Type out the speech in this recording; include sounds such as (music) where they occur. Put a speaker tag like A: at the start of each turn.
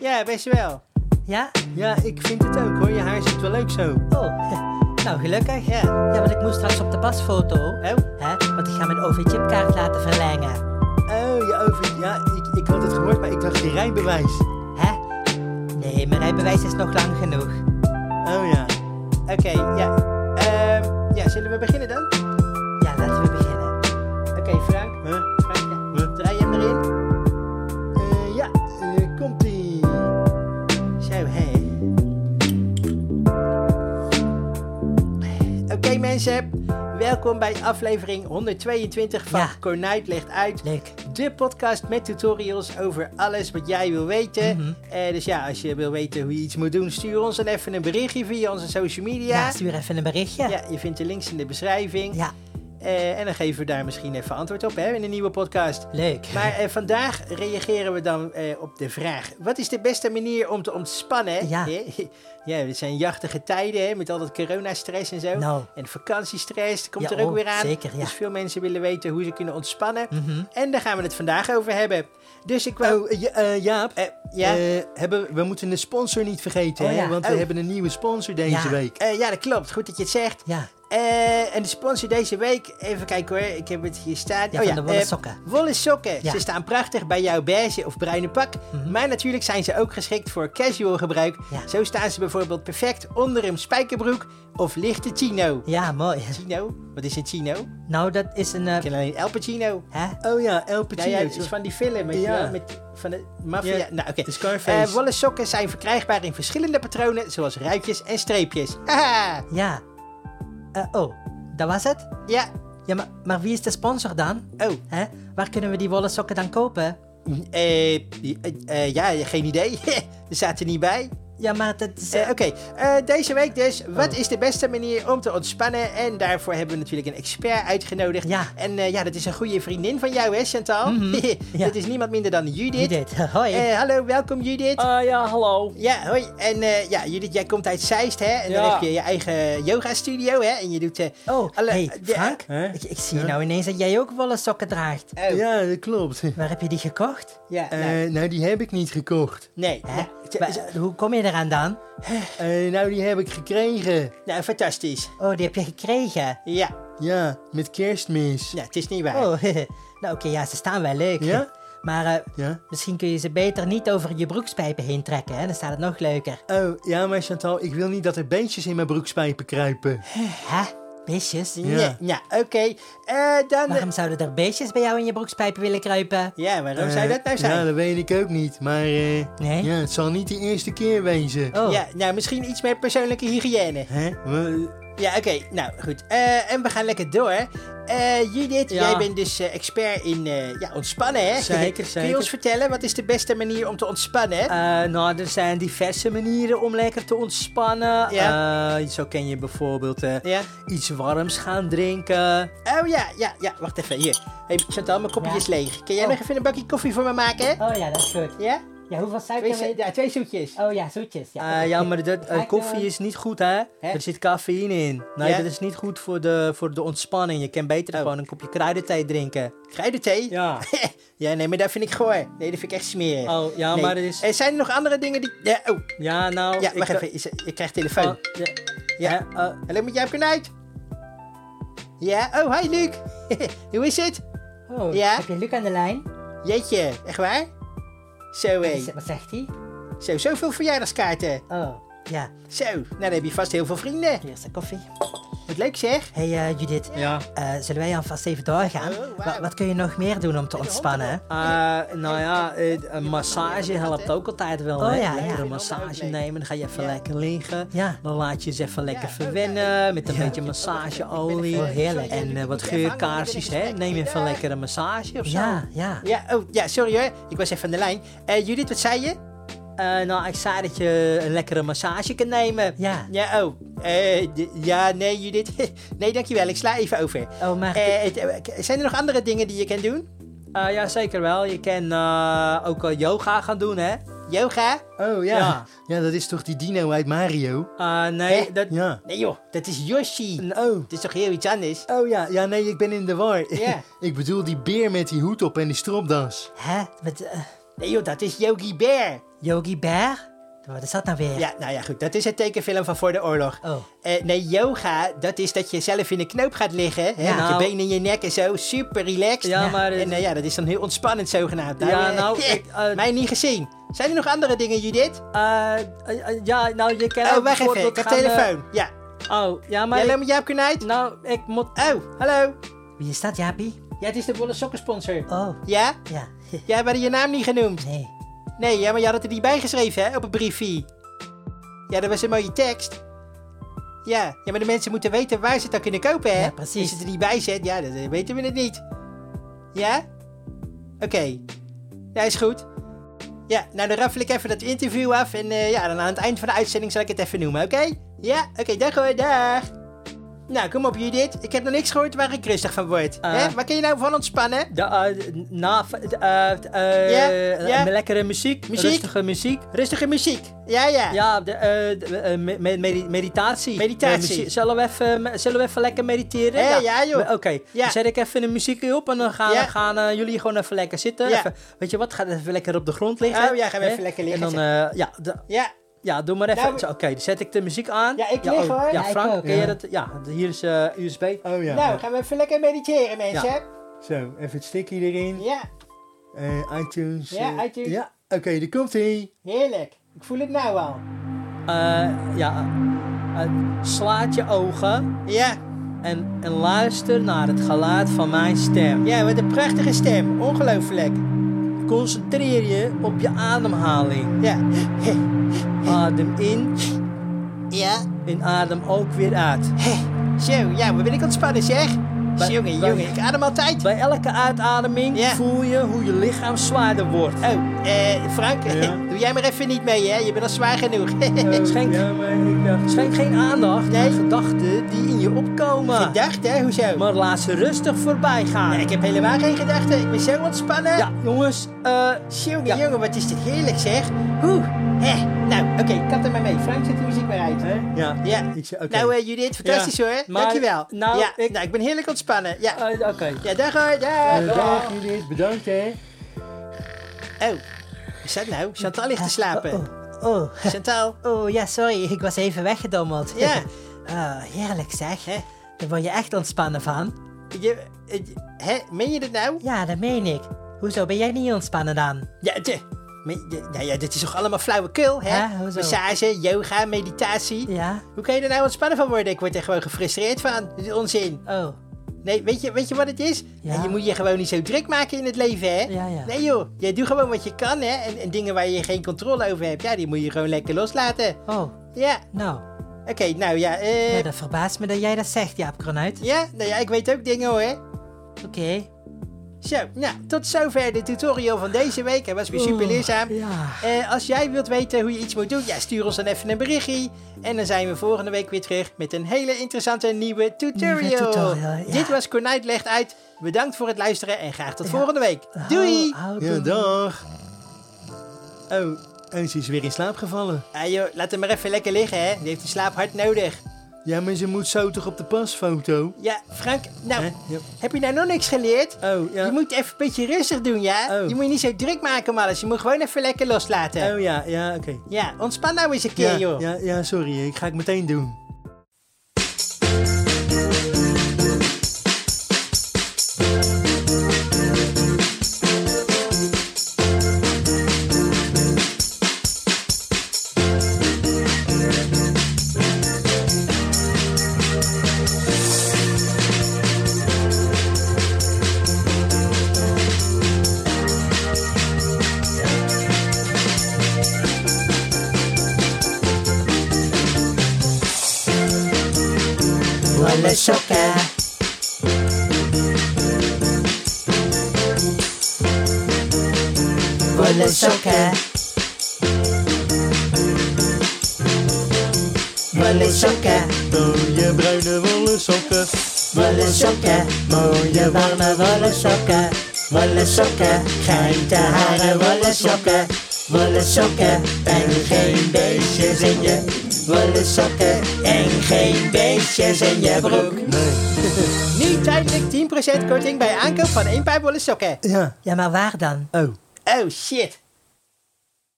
A: Ja, best wel.
B: Ja?
A: Ja, ik vind het ook hoor. Je haar zit wel leuk zo.
B: Oh, (laughs) nou gelukkig.
A: Ja.
B: Ja, want ik moest straks op de pasfoto.
A: Oh,
B: Hè? Want ik ga mijn OV-chipkaart laten verlengen.
A: oh je over. Ja, ik, ik had het gehoord, maar ik dacht je rijbewijs.
B: Hè? Nee, mijn rijbewijs is nog lang genoeg.
A: Oh ja. Oké, ja. Ehm, ja, zullen we beginnen dan?
B: Ja, laten we beginnen.
A: Oké, Frank. Huh? Frank, ja. Draai hem erin. Eh, ja, eh, komt-ie. Zo, hé. Oké mensen, welkom bij aflevering 122 van
B: Ja.
A: Cornuit legt uit.
B: Leuk.
A: De podcast met tutorials over alles wat jij wil weten.
B: Mhm.
A: Eh, dus ja, als je wil weten hoe je iets moet doen, stuur ons dan even een berichtje via onze social
B: Ja.
A: media.
B: stuur even een berichtje.
A: Ja, je vindt de links in de beschrijving.
B: Ja,
A: Eh, en dan geven we daar misschien even antwoord op hè, in een nieuwe podcast.
B: leuk.
A: Maar eh, vandaag reageren we dan eh, op de vraag: wat is de beste manier om te ontspannen?
B: Ja.
A: Eh, (laughs) ja dit zijn jachtige tijden hè, met al dat coronastress en zo.
B: Nou.
A: En vakantiestress, dat komt
B: Ja,
A: er ook
B: oh,
A: weer aan.
B: zeker, ja.
A: Dus veel mensen willen weten hoe ze kunnen ontspannen.
B: Mhm.
A: En daar gaan we het vandaag over hebben. Dus ik wou.
C: Oh, eh, ja, eh, Jaap.
A: Eh, ja.
C: Eh, hebben, we moeten de sponsor niet vergeten,
B: Oh,
C: hè?
B: ja.
C: want
A: Oh.
C: we hebben een nieuwe sponsor deze
B: Ja.
C: week.
A: Eh, ja, dat klopt. Goed dat je het zegt.
B: Ja,
A: Eh, en de sponsor deze week, even kijken hoor, ik heb het hier staan.
B: Ja, van de wollen
A: eh,
B: sokken.
A: wollen sokken.
B: Ja.
A: Ze staan prachtig bij jouw beige of bruine pak.
C: Mhm.
A: Maar natuurlijk zijn ze ook geschikt voor casual gebruik.
B: Ja.
A: Zo staan ze bijvoorbeeld perfect onder een spijkerbroek of lichte chino.
B: ja, mooi. (laughs)
A: Chino? Wat is een chino? Ik
B: Nou, dat is een... eh,
A: ken alleen El Pacino.
B: hè?
C: Oh ja, El
A: Nou
C: Pacino.
A: ja, het is van die film, weet je
C: Ja.
A: wel, met, van de maffia.
C: Ja,
A: Nou, oké.
C: de Scarface.
A: Eh, wollen sokken zijn verkrijgbaar in verschillende patronen, zoals ruitjes en streepjes. Haha!
B: Ja. Eh, oh, dat was het?
A: Ja,
B: Ja, maar, maar wie is de sponsor dan?
A: oh.
B: Hè? Waar kunnen we die wollen sokken dan kopen?
A: Eh, eh, eh, ja, geen idee. (laughs) er staat er niet bij.
B: Ja, maar dat is...
A: Eh,
B: eh,
A: Oké, eh, deze week dus. Wat
C: Oh.
A: is de beste manier om te ontspannen? En daarvoor hebben we natuurlijk een expert uitgenodigd.
B: Ja.
A: En eh, ja, dat is een goede vriendin van jou, hè, Chantal?
C: Mhm.
A: (laughs)
B: Ja.
A: Dat is niemand minder dan Judith.
B: Wie dit? (laughs) Hoi.
A: Eh, hallo, welkom Judith.
D: Ah ja, hallo.
A: Ja, hoi. En eh, ja, Judith, jij komt uit Zeist, hè? En dan
D: Ja.
A: heb je je eigen yoga-studio, hè? En je doet... eh,
B: oh,
A: alle-
B: hey,
A: de-
B: Frank.
C: Hè?
B: Ik, ik zie nou ineens dat jij ook wollen sokken draagt.
A: oh, ja,
C: Ja, dat klopt.
B: Waar heb je die gekocht?
A: nou,
C: Eh, nou, die heb ik niet gekocht.
A: nee.
B: Hè?
A: Nou, t-
B: Wa- hoe kom je eraan dan?
C: Eh, nou, die heb ik gekregen.
A: nou, fantastisch.
B: Oh, die heb je gekregen.
A: Ja,
C: Ja, met kerstmis.
A: nou, het is niet waar.
B: Oh, (laughs) nou oké, ja, ze staan wel leuk.
C: Ja?
B: Maar eh,
C: Ja?
B: misschien kun je ze beter niet over je broekspijpen heen trekken, hè? Dan staat het nog leuker.
C: Oh, ja, maar Chantal, ik wil niet dat er beestjes in mijn broekspijpen kruipen.
D: Oh,
B: Hè? Beestjes?
A: Nee,
C: Ja.
A: nou, oké. Eh, dan...
B: Waarom zouden er beestjes bij jou in je broekspijpen willen kruipen?
A: Ja, waarom
C: Eh,
A: zou dat nou zijn?
C: Ja, dat weet ik ook niet. Maar eh,
B: Nee?
C: ja, het zal niet de eerste keer wezen.
B: Oh,
A: Ja, nou, misschien iets meer persoonlijke hygiëne.
C: Hè? Wa-
A: Ja, oké. Nou, goed. Eh, en we gaan lekker door. Eh, Judith,
D: Ja.
A: jij bent dus eh, expert in eh, ja, ontspannen, hè?
D: Zeker,
A: Kun je
D: zeker.
A: ons vertellen, wat is de beste manier om te ontspannen? hè?
D: Eh, nou, er zijn diverse manieren om lekker te ontspannen. Eh, zo kan je bijvoorbeeld eh,
A: ja.
D: iets warms (laughs) gaan drinken.
A: Oh ja, ja, ja. Wacht even, hier. Hé, hey, Chantal, mijn kopje
B: Ja.
A: is leeg. Kun jij
B: Oh.
A: nog even een bakje koffie voor me maken? hè?
B: oh ja, dat is goed.
A: Ja?
B: Ja, hoeveel
A: Twee,
B: suiker
A: zo-
B: wil je...
A: ja, twee zoetjes.
B: Oh ja, zoetjes.
C: Ah,
B: Ja,
D: Eh, ja, maar dat, eh,
B: Kijk, eh,
D: koffie is niet goed, hè?
A: Hè?
D: Er zit cafeïne in. Nee,
A: Ja.
D: dat is niet goed voor de, voor de ontspanning. Je kan beter
A: Oh.
D: gewoon een kopje kruidenthee drinken.
A: Kruidenthee?
D: Ja.
A: (laughs) ja, nee, maar dat vind ik goor. Nee, dat vind ik echt smerig.
D: Oh, ja,
A: Nee.
D: maar het is...
A: Eh, zijn er nog andere dingen die... Ja, oh,
D: Ja, nou...
A: ja,
D: ik
A: wacht
D: dacht-
A: even. Is- Ik krijg telefoon.
D: Oh, ja.
A: Ja.
D: Eh, eh,
A: Hallo met jou Knuit. Ja, oh, hi
D: (laughs)
A: Luc. Hoe is het?
B: oh,
A: ja.
B: heb je Luc aan de lijn?
A: Jeetje, echt waar? Zo, hé.
B: Wat zegt hij?
A: Zo, zoveel verjaardagskaarten.
B: Oh, ja.
A: Zo, nou dan heb je vast heel veel vrienden.
B: Hier is de koffie.
A: Wat leuk zeg.
B: Hey eh, Judith,
D: ja.
B: eh, zullen wij alvast even doorgaan?
A: Oh, wauw.
B: Wa- wat kun je nog meer doen om te ontspannen?
D: Eh, nou ja, eh, een massage helpt ook altijd wel.
B: Oh
D: hè?
B: ja, ja.
D: lekker een massage nemen, dan ga je even
A: Ja.
D: lekker liggen.
B: Ja.
D: Dan laat je eens even lekker
A: Ja,
D: verwennen met een beetje
A: Ik
D: massageolie.
B: Oh,
A: ben er- heerlijk.
D: En eh, wat geurkaarsjes, hè. Neem even lekker een massage of zo.
B: Ja, ja.
A: Ja, oh, ja, sorry hoor. Ik was even aan de lijn. Eh, Judith, wat zei je?
D: Eh, nou, ik zei dat je een lekkere massage kan nemen.
B: Ja.
A: Ja, oh. Eh, d- ja, nee Judith. (laughs) nee, dankjewel. Ik sla even over.
B: Oh, maar...
A: Eh, het- eh, k- zijn er nog andere dingen die je kan doen?
D: Eh, ja, zeker wel. Je kan eh, ook eh, yoga gaan doen, hè.
A: Yoga?
C: Oh ja.
D: Ja.
C: ja. dat is toch die dino uit Mario?
D: Eh, nee,
A: Hè?
D: dat...
C: Ja.
A: Nee joh, dat is Yoshi.
C: Oh.
A: Het is toch heel iets anders?
C: Oh ja, ja nee, ik ben in de war.
A: (laughs) Ja.
C: ik bedoel die beer met die hoed op en die stropdas.
B: Hè? Wat, eh,
A: Nee joh, dat is Yogi Bear.
B: Yogi Bear? Wat is dat nou weer?
A: Ja, nou ja, goed. Dat is het tekenfilm van voor de oorlog.
B: Oh.
A: Eh, nee, yoga, dat is dat je zelf in een knoop gaat liggen. Hè,
B: Ja.
A: met je
D: Nou.
A: benen in je nek en zo. Super relaxed.
D: Ja, maar het-
A: En nou ja, dat is dan heel ontspannend zogenaamd.
D: Ja,
A: eh,
D: nou, ik, eh,
A: Mij niet gezien. Zijn er nog andere dingen, Judith?
D: Eh, eh, eh, ja, nou, je kan
A: Oh,
D: ook
A: wacht even. Ik
D: bijvoorbeeld
A: heb
D: gaan, eh,
A: telefoon. Ja.
D: oh, ja, maar...
A: Jij
D: ik-
A: loopt met Jaap Konijt?
D: nou, ik moet...
A: Oh, hallo.
B: Wie is dat, Jaapie?
A: Ja, het is de Wolle Sokkensponsor.
B: Oh,
A: Ja?
B: ja. (laughs)
A: Jij had je naam niet genoemd.
B: Nee.
A: Nee, ja, maar je had het er niet bij geschreven, hè? Op een briefie. Ja, dat was een mooie tekst. Ja, ja, maar de mensen moeten weten waar ze het dan kunnen kopen, hè?
B: Ja, precies.
A: Als je het er niet bij zet, ja, dan eh, weten we het niet. Ja? Oké. Ja, is goed. Ja, nou dan raffel ik even dat interview af en eh, ja, dan aan het eind van de uitzending zal ik het even noemen, oké? Ja, oké, dag hoor, dag. Nou, kom op Judith. Ik heb nog niks gehoord waar ik rustig van word.
D: Eh.
A: Hè? Waar kun je nou van ontspannen?
D: De, eh, na, eh, eh,
A: Ja,
D: eh,
A: ja.
D: Lekkere muziek,
A: Muziek.
D: rustige muziek.
A: Rustige muziek. Ja, ja.
D: Ja, de, eh, de, eh, me- me- medi- meditatie.
A: Meditatie.
D: Eh, muziek. zullen, we even, me- zullen we even lekker mediteren?
A: Eh, ja, joh.
D: Oké,
A: Ja.
D: dan zet ik even de muziekje op en dan gaan,
A: Ja.
D: gaan eh, jullie gewoon even lekker zitten.
A: Ja.
D: Even, weet je wat, ga even lekker op de grond liggen.
A: Oh, ja, gaan we
D: Hè?
A: even lekker liggen
D: En dan, eh, ja, de-
A: Ja.
D: ja, doe maar even.
A: Nou, we-
D: Zo, Oké, dan zet ik de muziek aan.
A: Ja, ik lig, hoor.
D: Ja,
B: Ja, ik
D: Frank,
B: ook,
D: ken
B: ja.
D: jij dat? Ja, hier is eh, USB.
C: Oh ja.
A: Nou, gaan we even lekker mediteren, mensen.
C: Zo, even het stickje erin.
A: Ja,
C: Eh, iTunes.
A: Ja,
C: eh,
A: iTunes.
C: Ja, oké, daar komt hij.
A: heerlijk. Ik voel het nou al.
D: Eh, ja, eh, slaat je ogen
A: Ja,
D: en, en luister naar het geluid van mijn stem.
A: ja, wat een prachtige stem. Ongelooflijk.
D: Concentreer je op je ademhaling.
A: Ja.
D: Adem in
A: Ja.
D: en adem ook weer uit.
A: Zo, ja, wat ben ik ontspannen zeg.
D: Bij-
A: jongen,
D: bij-
A: jongen, ik adem altijd.
D: Bij elke uitademing
A: Ja.
D: voel je hoe je lichaam zwaarder wordt.
A: Oh, eh, Frank,
C: Ja.
A: (laughs) doe jij maar even niet mee, hè. Je bent al zwaar genoeg. (laughs)
D: Eh, Schenk,
C: Ja, maar ik dacht...
D: schenk geen aandacht
A: Nee.
D: aan gedachten die in je opkomen.
A: Gedacht, hè, hoezo?
D: maar laat ze rustig voorbij gaan.
A: Nee, ik heb helemaal geen gedachten. Ik ben zo ontspannen.
D: Ja, jongens, eh,
A: Jongen,
D: Ja.
A: jongen, wat is dit heerlijk zeg. Oeh. Hè. Nou, oké, kat er maar mee. Frank, zet de muziek maar uit.
C: Hè? Ja.
A: Ja.
C: Ik zei, oké.
A: Nou, eh, Judith, fantastisch hoor.
D: maar-
A: Dankjewel.
D: nou,
A: ja,
D: ik-
A: nou, ik ben heerlijk ontspannen. Ja,
D: eh, oké.
A: ja dag hoor. Dag.
C: Eh, dag Judith, bedankt hè.
A: Oh, wat is dat nou? Chantal ligt te slapen.
B: Oh, oh.
A: Chantal.
B: Oh, (laughs) ja, sorry. Ik was even weggedommeld.
A: Ja.
B: (laughs) Ah, heerlijk zeg.
A: Hè?
B: Daar word je echt ontspannen van.
A: Je, eh, hè, meen je dit nou?
B: Ja, dat meen ik. Hoezo ben jij niet ontspannen dan?
A: Ja, de, me- de- nou ja, dit is toch allemaal flauwekul, hè?
B: Ja, hoezo?
A: Massage, yoga, meditatie.
B: Ja?
A: Hoe kan je er nou ontspannen van worden? Ik word er gewoon gefrustreerd van. Dit is onzin.
B: Oh.
A: Nee, weet je, weet je wat het is?
B: Ja.
A: Je moet je gewoon niet zo druk maken in het leven, hè?
B: Ja, ja.
A: Nee joh, jij doet gewoon wat je kan, hè? En, en dingen waar je geen controle over hebt, ja, die moet je gewoon lekker loslaten.
B: Oh,
A: Ja,
B: nou.
A: oké, nou ja, eh...
B: Nou, dat verbaast me dat jij dat zegt, Jaap Kronuit.
A: Ja, nou ja, ik weet ook dingen hoor.
B: Oké.
A: Zo, nou, tot zover de tutorial van deze week. Hij was weer super
B: Oeh,
A: leerzaam.
B: ja.
A: Eh, als jij wilt weten hoe je iets moet doen, ja, stuur ons dan even een berichtje. En dan zijn we volgende week weer terug met een hele interessante nieuwe tutorial.
B: Nieuwe tutorial, ja.
A: Dit was Cornijt Legt Uit. Bedankt voor het luisteren en graag tot volgende week. Doei!
B: Hou- hou-
C: Ja, dag. Oh, en ze is weer in slaap gevallen.
A: Ah, joh, laat hem maar even lekker liggen, hè. Die heeft de slaap hard nodig.
C: Ja, maar ze moet zo toch op de pasfoto?
A: Ja, Frank, nou,
C: Hè? Ja.
A: heb je nou nog niks geleerd?
C: Oh, ja.
A: Je moet even een beetje rustig doen, ja?
C: Oh.
A: Je moet je niet zo druk maken om alles. Je moet gewoon even lekker loslaten.
C: Oh ja, ja, oké.
A: Ja, ontspan nou eens een keer,
C: Ja,
A: joh.
C: ja, ja, sorry, ik ga het meteen doen.
B: Wolle sokken. Wolle sokken. Wolle sokken.
C: Mooie bruine wollen sokken.
B: Wollen sokken, mooie warme wollen sokken. Wollen sokken, geitenharen wollen sokken. Wollen sokken en geen beestjes in je. Wollen sokken en geen beestjes in je broek.
A: (laughs) Nu tijdelijk 10% korting bij aankoop van één paar wollen sokken.
C: Ja.
B: Ja, maar waar dan?
C: Oh.
A: Oh shit.